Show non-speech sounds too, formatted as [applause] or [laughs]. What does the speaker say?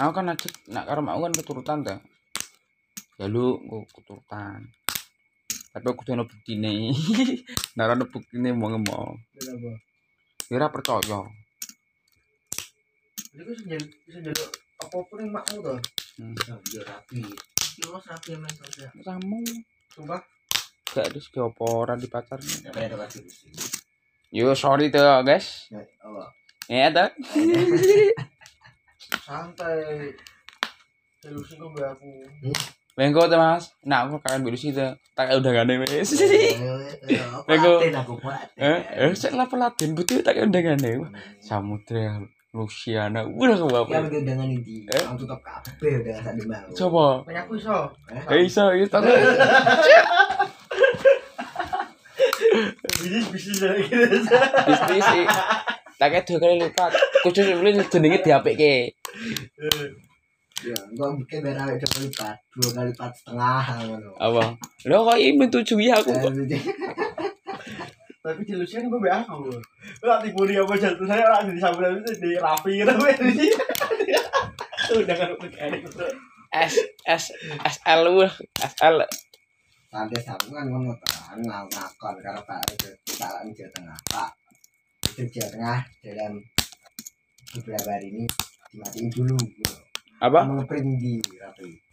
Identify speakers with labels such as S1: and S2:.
S1: aku kan lagi nak karo mau kan keturutan ta ya lu aku keturutan tapi aku tuh bukti nih [laughs] nara ada bukti nih mau ngemau
S2: Kenapa?
S1: kira percaya
S2: Jadi gue senjel, kan bisa jadi apa pun yang makmu tuh.
S1: Hmm.
S2: Ya rapi. Lu mas rapi emang tuh ya.
S1: kamu
S2: Sumpah.
S1: gak ada segi apa orang di pacarnya
S2: Ya kayak rapi.
S1: yo sorry tuh guys
S2: Ya Allah.
S1: ya tuh
S2: Santai. Solusi kok be aku.
S1: Bengko tuh mas nah aku kangen biru sih tuh tak udah gak ada wes Bego.
S3: Aku aku kuat.
S1: [laughs] eh eh saya lapor latin butuh tak udah gak ada Samudra Luciana udah
S3: Ya
S1: ke bapak
S3: udah dengan ini.
S1: Eh?
S3: Aku tutup kabel dengan sak demam.
S1: coba
S2: Banyak aku iso.
S1: eh iso iso tak
S2: Bisnis bisnis dari kita.
S1: bisnis sih tak kayak dua kali lipat kudu sebenarnya jenenge diapike
S3: Ya, gua bikin biar awake coba lipat. Dua kali lipat setengah ngono.
S1: apa lo kok ini menyetujui aku
S3: Eh, jadi- [laughs]
S2: Tapi solusinya gue be aku. Lu nanti bodi apa jatuh saya lah di sabar itu di rapi gitu.
S3: [laughs]
S2: Udah kan pakai itu.
S1: S S SL wah SL
S3: Nanti aku kan ngono kan ngakon karena Pak Arif kesalahan Jawa Tengah Pak itu Jawa Tengah dalam beberapa hari ini dimatiin dulu
S1: apa
S3: mengeprint di rapi